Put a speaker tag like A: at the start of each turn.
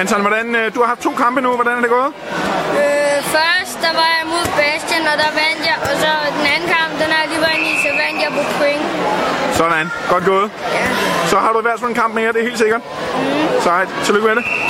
A: Anton, hvordan, øh, du har haft to kampe nu. Hvordan er det gået?
B: Øh, først, der var jeg mod Bastian, og der vandt jeg. Og så den anden kamp, den har jeg lige været i, så vandt jeg på point.
A: Sådan. Godt gået.
B: Ja.
A: Så har du i hvert fald en kamp mere, det er helt sikkert. Mm. Sejt. Tillykke med det.